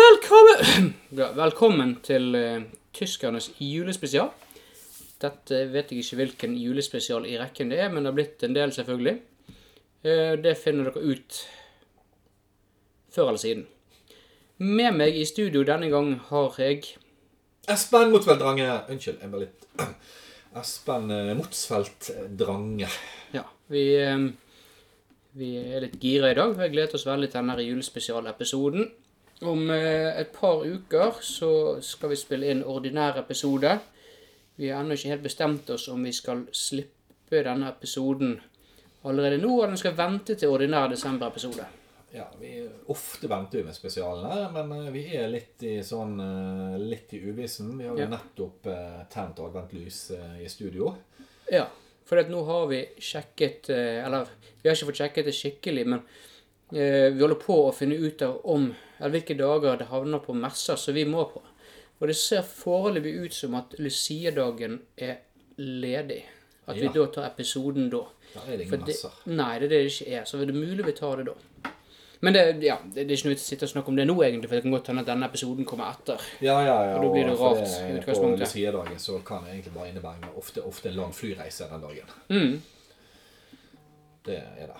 Velkommen Ja, Velkommen til eh, tyskernes julespesial. Dette vet jeg ikke hvilken julespesial i rekken det er, men det har blitt en del, selvfølgelig. Eh, det finner dere ut før eller siden. Med meg i studio denne gang har jeg Espen Motsfeldt Drange. Unnskyld, jeg var litt Espen eh, Motsfeldt Drange. Ja, vi, eh, vi er litt gira i dag. Vi har gledet oss veldig til denne julespesialepisoden. Om eh, et par uker så skal vi spille inn ordinær episode. Vi har ennå ikke helt bestemt oss om vi skal slippe denne episoden allerede nå, eller om vi skal vente til ordinær desember-episode. Ja, vi ofte venter vi med spesialene, men eh, vi er litt i sånn eh, litt i uvissen. Vi har Ja. jo nettopp eh, tent adventlys eh, i studio. Ja, for at nå har vi sjekket eh, Eller vi har ikke fått sjekket det skikkelig, men eh, vi holder på å finne ut av om eller hvilke dager det havner på messer som vi må på. Og det ser foreløpig ut som at Lucia-dagen er ledig. At vi Ja. da tar episoden da. Der er det For ingen det, messer. nei, det er det det ikke er. Så er det mulig vi tar det da. Men det, ja, det det er ikke noe vits i å sitte og snakke om det nå, egentlig, for det kan godt hende at denne episoden kommer etter. Ja, ja, ja. Og da blir det for rart i det- utgangspunktet. På Lucia-dagen så kan det egentlig bare innebære ofte, ofte en lang flyreise den dagen. Mm. Det er det.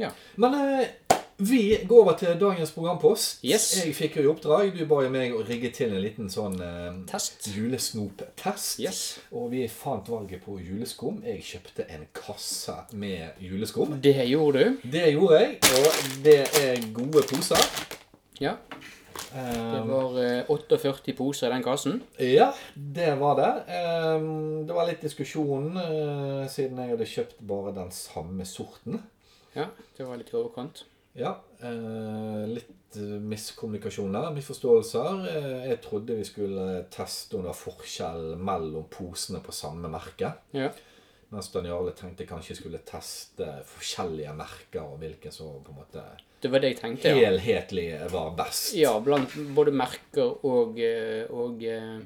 Ja. Men eh, vi går over til dagens programpost. Yes. Jeg fikk jo i oppdrag, du ba jo meg å rigge til en liten sånn eh, Test. julesnoptest. Yes. Og vi fant valget på juleskum. Jeg kjøpte en kasse med juleskum. Det gjorde du. Det gjorde jeg, og det er gode poser. Ja. Det Eh, var eh, 48 poser i den kassen. ja, det var det. Eh, det var litt diskusjon eh, siden jeg hadde kjøpt bare den samme sorten. Ja, det var litt i overkant. Ja. Eh, litt eh, miskommunikasjon der, misforståelser. Eh, jeg trodde vi skulle teste om det var forskjell mellom posene på samme merke. Ja. Mens Dan Jarle tenkte jeg kanskje skulle teste forskjellige merker, og hvilken som på en måte Det var det jeg tenkte, ja. helhetlig var best. Ja, blant både merker og eh, og, eh,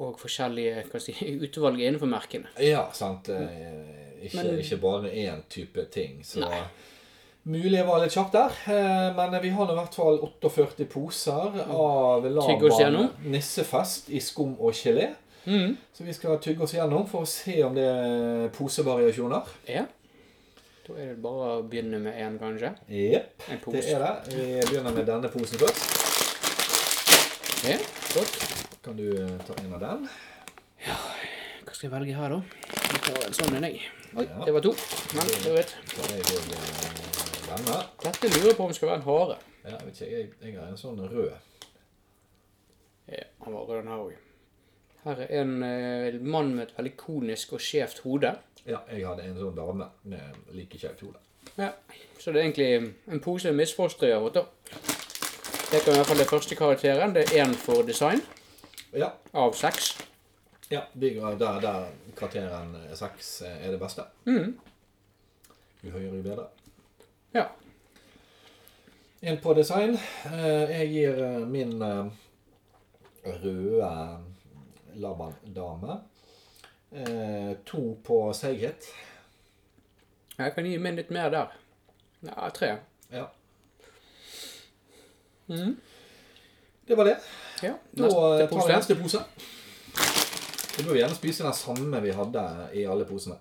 og forskjellige hva skal jeg si, utvalg innenfor merkene. Ja, sant. Eh, Ikke, Men- ikke bare én type ting. Så mulig jeg var litt kjapp der. eh, Men vi har nå i hvert fall 48 poser av Tygg oss Laban gjennom. nissefest i skum og gelé. Mm. Så vi skal tygge oss gjennom for å se om det er posevariasjoner. Ja. Da er det bare å begynne med én, kanskje. Jepp, En det pose. er det. Vi begynner med denne posen først. Ja, godt. Kan du eh, ta en av den? Hva skal jeg velge her, da? Jeg tar en sånn en, jeg. Oi, Ja. det var to. Men du vet, Så jeg vil, eh, denne. dette lurer jeg på om skal være en hare. Ja, jeg vet ikke, jeg, jeg har en sånn rød. Ja, han var rød, den her òg. Her er en eh, mann med et veldig konisk og skjevt hode. Ja, jeg hadde en sånn dame med like kjevt hode. Ja, så det er egentlig en pose misfostre i da. Det kan i hvert fall det første karakteren. Det er én for design Ja, av seks. ja bygger, der, der karakteren eh, seks eh, er det beste. Jo høyere, jo bedre. Mm, Ja. En på design. Eh, Jeg gir eh, min eh, røde Laban-dame eh, to på seighet. Jeg kan gi min litt mer der. Ja, tre. Ja, Mhm. det var det. Ja, Da neste eh, tar vi pose. neste pose. Vi bør gjerne spise den samme vi hadde i alle posene.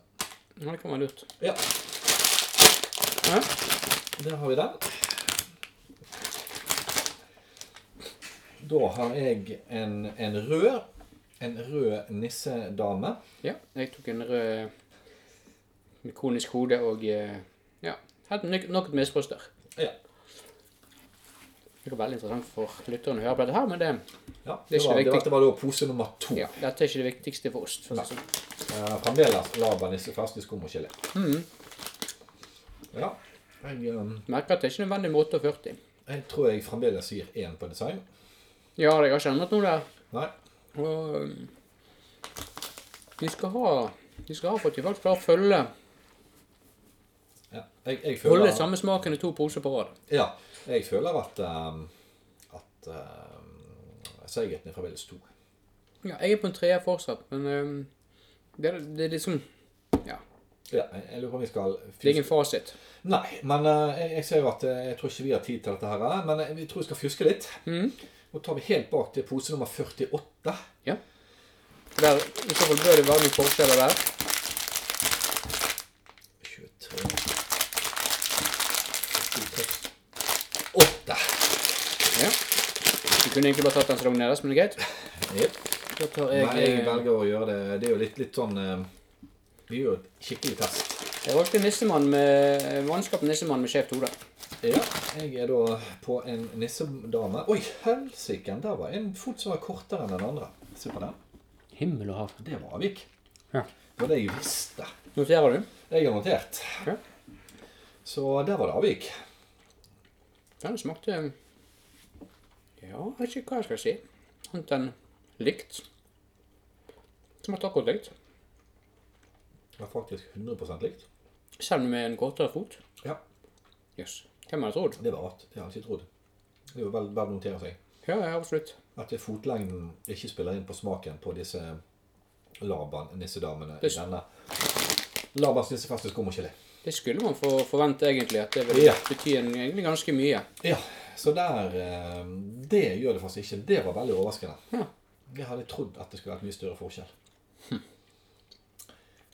Ja, det kan være lurt. Ja, Ja. Der har vi den. Da har jeg en, en rød en rød nissedame. ja, jeg tok en rød med konisk hode og eh, Ja, helt nok nok et misfoster. Ja. Det er veldig interessant for lytterne å høre på dette her, men det, ja Det er det, ikke var, det, viktig. var, det var da pose nummer to. ja, dette er ikke det viktigste for oss. Nei. Eh, Fremdeles laber nisse fast i skum og gelé. Mhm. Ja. Jeg, eh, Merker at det er ikke nødvendig med 48. jeg tror jeg fremdeles gir én på design. Ja, jeg har ikke endret noe der. Nei. Og um, de skal ha De skal ha for at de faktisk klarer å følge Ja. Jeg, jeg holde føler samme smaken i to poser på rad. Ja. Jeg føler at eh, at eh, seigheten er fremdeles to. eh, Ja, jeg er på en treer fortsatt, men um, det, er- det er liksom Ja. Ja, jeg jeg lurer på om vi skal Det er ingen fasit. Nei, men eh, jeg, jeg ser jo at eh, jeg tror ikke vi har tid til dette her. eh, Men eh, vi tror vi skal fjuske litt. Mhm. Nå tar vi helt bak til pose nummer 48. Ja. Der, I så fall bør det være noen forskjeller der. 23 8. Ja. Du kunne egentlig bare tatt den som lå nederst, men det er greit. Yep. Da tar Jeg, jeg, eh, Nei, jeg velger å gjøre det. Det er jo litt, litt sånn eh, Vi gjør jo et skikkelig test. jeg valgte nissemann med Vannskap nissemann med skjevt hode. Ja, jeg er da på en nissedame. Oi, helsike! Der var en fot som var kortere enn den andre. Se på den. Himmel og hav. Det var avvik. Ja. Det var det jeg visste. Noterer du? Jeg har notert. Ja. Så der var det avvik. Den smakte um, Ja, jeg vet ikke hva jeg skal si. Annet enn likt. Smakte akkurat likt. Det var faktisk 100 likt. Selv med en kortere fot. Ja, Jøss. Yes. Hvem hadde trodd? det var rart. Det har jeg ikke trodd. Det er jo vel verdt å notere seg. Ja, ja, absolutt. At det fotlengden ikke spiller inn på smaken på disse Laban-nissedamene i Det- denne. Labans nissefeste skummegelé. Det skulle man for, forvente egentlig, at det ville Ja. bety en, egentlig ganske mye. Ja, så der eh, Det gjør det faktisk ikke. Det var veldig overraskende. Ja. Jeg hadde trodd at det skulle vært mye større forskjell.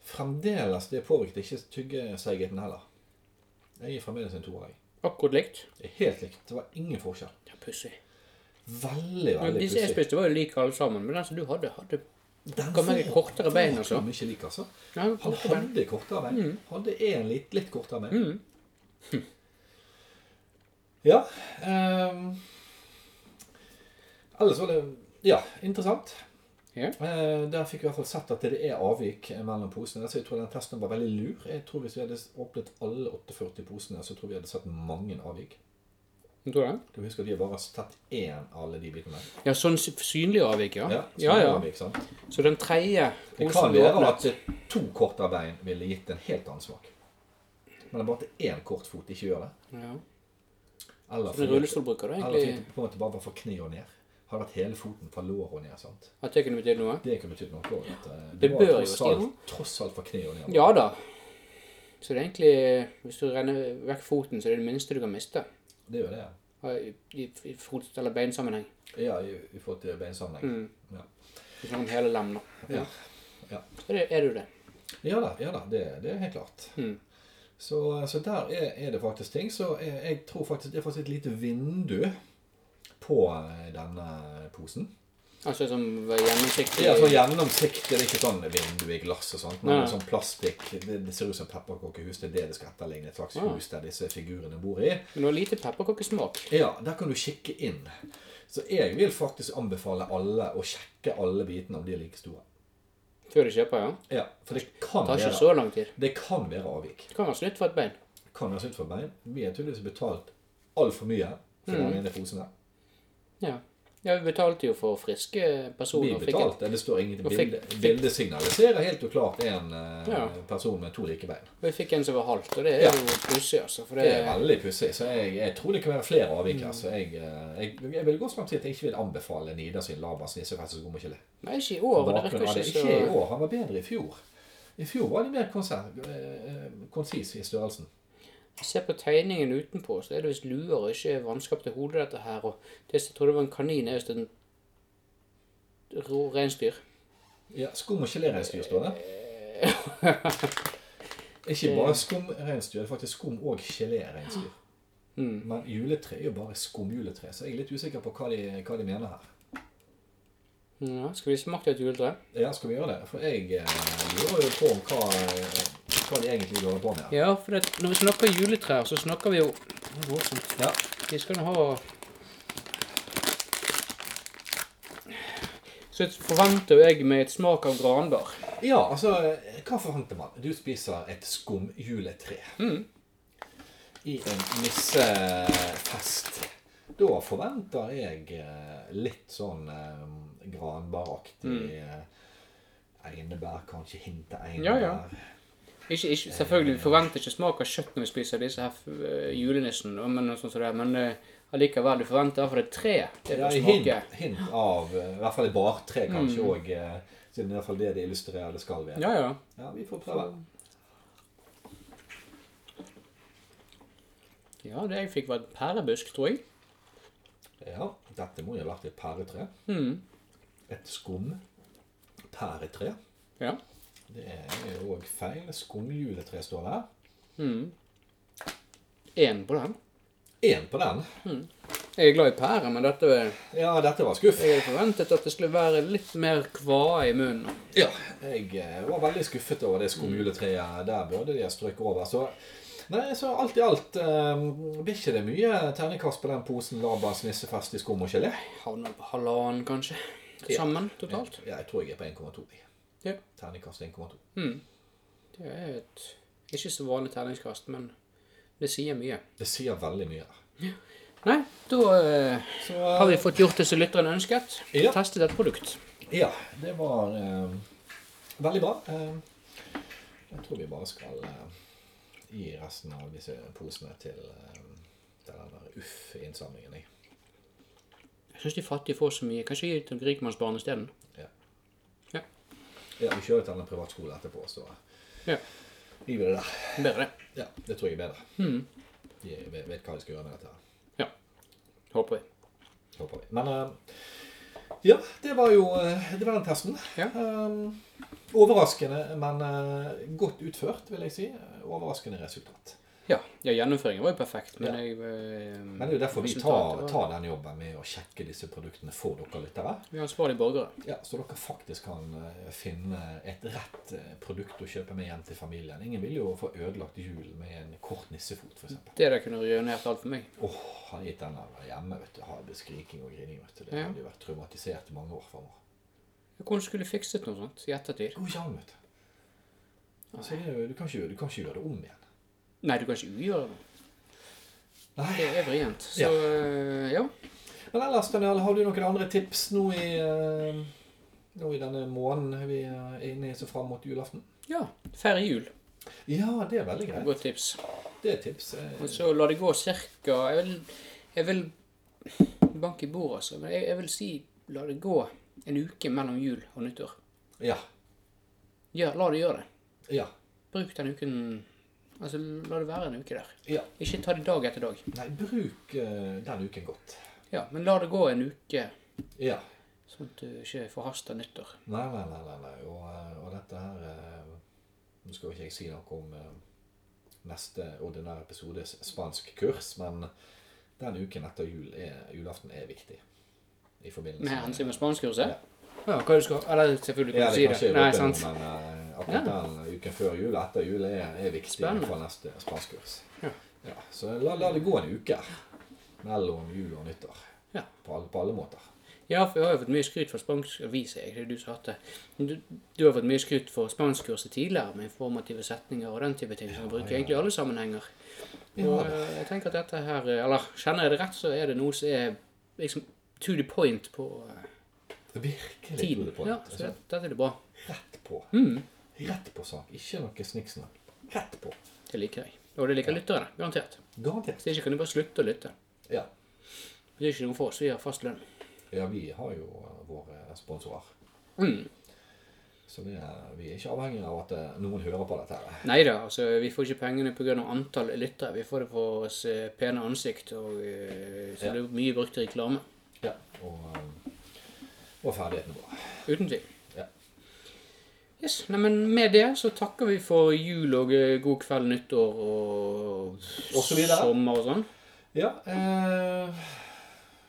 Fremdeles Det påvirket ikke tyggeseigheten heller. Jeg gir fremdeles en toer, jeg. Akkurat likt. Det er helt likt. Det var ingen forskjell. Ja, pussig. Veldig, Men veldig disse jeg pussig. spiste, var jo like alle sammen. Men den som du hadde, hadde Den Kan være kortere bein, var altså. mye lik, altså. ja, Han hadde kortere bein. Mm. Hadde en litt, litt kortere bein. Ja. ehm, ellers var det Ja, interessant. Ja. Eh, der fikk vi i hvert fall sett at det er avvik mellom posene. Så jeg tror den testen var veldig lur. Jeg tror Hvis vi hadde åpnet alle 48 posene, så tror vi hadde sett mange avvik. Du tror det? Du husker at vi bare har sett én av alle de bitene. Ja, sånn sy- synlig avvik, ja. Ja, ja, ja. Avvik, sant? Så den tredje Det posen kan vi være åpnet at to kortere bein ville gitt en helt annen smak. Men det er bare at én kort fot ikke gjør det. ja. Eller For en rullestolbruker, da, eller fordi egentlig. det på en måte bare var fra kne og ned. Hadde vært hele foten fra lår og ned. sant? At det kunne betydd noe? Det kunne betydd noe. for at, eh, Det var bør jo tross stige. alt, tross alt fra kne og ned. Ja da. Så det er egentlig Hvis du renner vekk foten, så er det det minste du kan miste. Det gjør det. I, i, i fot- eller beinsammenheng. Ja, i, i forhold til beinsammenheng. Mm. Ja. Vi snakker om hele lem, da. Ja. Ja. Så det, er du det. Ja da, ja da, det, det er helt klart. Mm. Så, så der er, er det faktisk ting. Så jeg, jeg tror faktisk det er faktisk et lite vindu på eh, denne posen. Altså som var gjennomsiktig Det er sånn gjennomsiktig. Det er ikke sånn vindu i glass og sånt, men Nei. det er sånn plastikk. Det, det ser ut som pepperkakehus. Det er det det skal etterligne. Et slags Ja. hus der disse figurene bor i. Men det var lite pepperkakesmak. Ja, der kan du kikke inn. Så jeg vil faktisk anbefale alle å sjekke alle bitene om de er like store. Før du kjøper, ja. Ja, for det kan Det tar ikke være, så lang tid. det kan være avvik. Det kan være snytt for et bein. Kan være sunt for bein. Vi har tydeligvis betalt altfor mye for Mm. den ene posen her. Ja. ja, vi betalte jo for friske Vi personer. og fikk betalte, det står ingenting. Og fikk- Bildet, bildet signaliserer helt og klart en eh, Ja. person med to like bein. en- Vi fikk en som var halvt, og det er Ja. jo pussig, altså. For det, Det er veldig pussig, så jeg, jeg tror det kan være flere avvik her. Så jeg, eh, jeg, jeg vil gå så langt som til at jeg ikke vil anbefale Nida sin Labas nissefest som kommer Nei, ikke i år. og Det virker Bakgrunnen av ikke det. så Ikke i år, han var bedre i fjor. I fjor var de mer konser- eh, konsis i størrelsen. Se på tegningen utenpå, så er det visst luer og ikke vannskap til hodet, dette her. Og det som jeg trodde var en kanin, er visst en rå reinsdyr. Ja, skum og geléreinsdyr står det. Ikke bare skumreinsdyr, det er faktisk skum og geléreinsdyr. Hmm. Men juletre er jo bare skumjuletre, så jeg er litt usikker på hva de, hva de mener her. Ja, skal vi smake et juletre? Ja, skal vi gjøre det? For jeg eh, lurer jo på om hva, hva de egentlig holder på med. her. Ja, for det, når vi snakker juletrær, så snakker vi jo Å, voldsomt. Ja. Vi skal nå ha Så forventer jo jeg med et smak av granbar. Ja, altså, hva forventer man? Du spiser et skumjuletre Mm. i en nissefest. Da forventer jeg eh, litt sånn eh, granbaraktig Mm. eh, Einebær, kanskje hinte Ja, einebær. ja. Ikke, ikke, selvfølgelig, vi forventer ikke smak av kjøtt når vi spiser disse her eh, julenissen, og- men, og sånt som det, er, men eh, allikevel, du forventer iallfall et tre. Det Ja, bør hint, smake. hint av eh, i hvert fall et bartre, Mm. eh, kanskje òg. Siden det er i hvert fall det det illustrerer det skal være. Ja, ja. Ja, vi får prøve. Ja, det jeg fikk var en pærebusk, tror jeg. Ja, dette må jo ha vært et pæretre. Hmm. Et skum pæretre. Ja. Det er jo òg feil. Skumjuletre står der. Hmm. En på den. Én på den. Jeg er glad i pære, men dette Ja, dette var skuff. Jeg hadde forventet at det skulle være litt mer kvae i munnen. Ja, jeg eh, var veldig skuffet over det Mm. skumjuletreet. Der burde de ha strøket over. Så, nei, så alt i alt eh, blir ikke det mye terningkast på den posen Labas nissefest i skum og gelé. Havner på halvannen, kanskje. Ja. Sammen totalt. Ja, jeg tror jeg er på 1,2. jeg. Ja. Terningkast 1,2. Hmm. Det er et ikke så vanlig terningskast, men det sier mye. Det sier veldig mye. Nei, da eh, Så har vi fått gjort det som lytteren ønsket. Ja. Testet et produkt. ja, det var eh, veldig bra. Eh, jeg tror vi bare skal eh, gi resten av disse posene til eh, til den der UFF-innsamlingen. jeg. Jeg syns de fattige får så mye. Kanskje gi det til rikmannsbarn isteden. Ja. Ja. Ja, vi kjører til en privatskole etterpå, så Ja. gir vi det der. Bedre. Ja, det tror jeg er bedre. Mhm. De vet, vet hva de skal gjøre med dette. her, Ja. Håper vi. Håper vi. Men eh, ja, det var jo eh, det var den testen. Ja. Eh, overraskende, men eh, godt utført, vil jeg si. Overraskende resultat. Ja, ja gjennomføringen var jo perfekt, men Ja. jeg eh, Men det er jo derfor vi tar, resultatet var- tar den jobben med å sjekke disse produktene for dere lyttere. Vi er ansvarlige borgere. Ja, så dere faktisk kan eh, finne et rett eh, produkt å kjøpe med hjem til familien. Ingen vil jo få ødelagt julen med en kort nissefot, f.eks. Det der kunne ruinert alt for meg. Åh, hadde gitt den der hjemme, vet du. Hadde skriking og grining, vet du. Det Ja. hadde jo vært traumatisert i mange år fremover. Hvordan skulle jeg fikset noe sånt i ettertid? Går ikke an, vet du. Så det, er jo- du, kan ikke, du kan ikke gjøre det om igjen. Nei, du kan ikke ugjøre det. Nei. Det er vrient. Så Ja. eh, ja. Men ellers, Daniel, har du noen andre tips nå i, eh, nå i denne måneden vi er inne i så fram mot julaften? Ja, Færre jul. Ja, det er veldig greit. Godt tips. Det er et tips. eh. Og så la det gå cirka Jeg vil, jeg vil banke i bordet, altså. Men jeg, jeg vil si la det gå en uke mellom jul og nyttår. Ja. Ja, la det gjøre det. Ja. Bruk den uken Altså, la det være en uke der. Ja. Ikke ta det dag etter dag. Nei, bruk eh, den uken godt. Ja, men la det gå en uke, Ja. sånn at du ikke forhaster nyttår. Nei, nei, nei, nei, nei. Og, eh, og dette her eh, Nå skal jo ikke jeg si noe om eh, neste ordinære episodes spansk kurs, men den uken etter jul er, julaften er viktig. I forbindelse Med hensyn til spanskkurset? Ja. Ja, hva du skal Eller selvfølgelig Ja, kan du det si kan det. ikke Nei, jeg røpe sant. noe, men eh, akkurat den uken før jul og etter jul er, er viktig Spennende. for neste spansk kurs. Ja. Ja, så la, la det gå en uke mellom jul og nyttår. Ja. På, alle, på alle måter. Ja, for jeg har jo fått mye skryt for spansk avis, jeg. Det er du som har hatt det. Men Du, du har fått mye skryt for spanskkurset tidligere, med informative setninger og den type ting som Ja, vi bruker ja. egentlig i alle sammenhenger. Ja, Og da. eh, jeg tenker at dette her eh, Eller kjenner jeg det rett, så er det noe som er liksom to the point på eh, Virkelig tiden. gode poeng. sånn, Ja, så det, dette er det bra. Rett på. Mm, Rett på sak. Ikke noe snikksnakk. Rett på. det liker jeg. Og det liker lytterne, garantert. Garantert. Hvis ikke kan de bare slutte å lytte. Ja. Det er ikke noe for oss, vi har fast lønn. ja, vi har jo eh, våre sponsorer. Mm. Så vi er, vi er ikke avhengig av at eh, noen hører på dette. her. Nei da, altså, vi får ikke pengene pga. antall lyttere. Vi får det for oss eh, pene ansikt, og eh, så Ja. det er mye brukt reklame. Ja. Og, eh, og ferdighetene våre. Uten tvil. Ja. Yes, nei, men Med det så takker vi for jul og eh, god kveld, nyttår og, Og så videre. sommer og sånn. Ja, eh,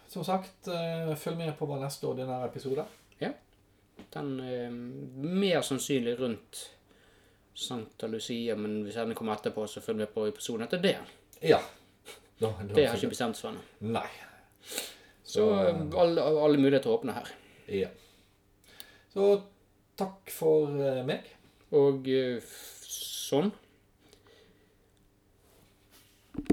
som sagt, eh, følg med på vår neste ordinære episode. Den eh, mer sannsynlig rundt Santa Lucia, men hvis den kommer etterpå, så følg med på episoden etter det. Ja. Da, da, Det har ikke bestemt Svenne. Nei. Så eh, alle, alle muligheter er åpne her. Ja. Så takk for eh, meg. Og eh, f- sånn.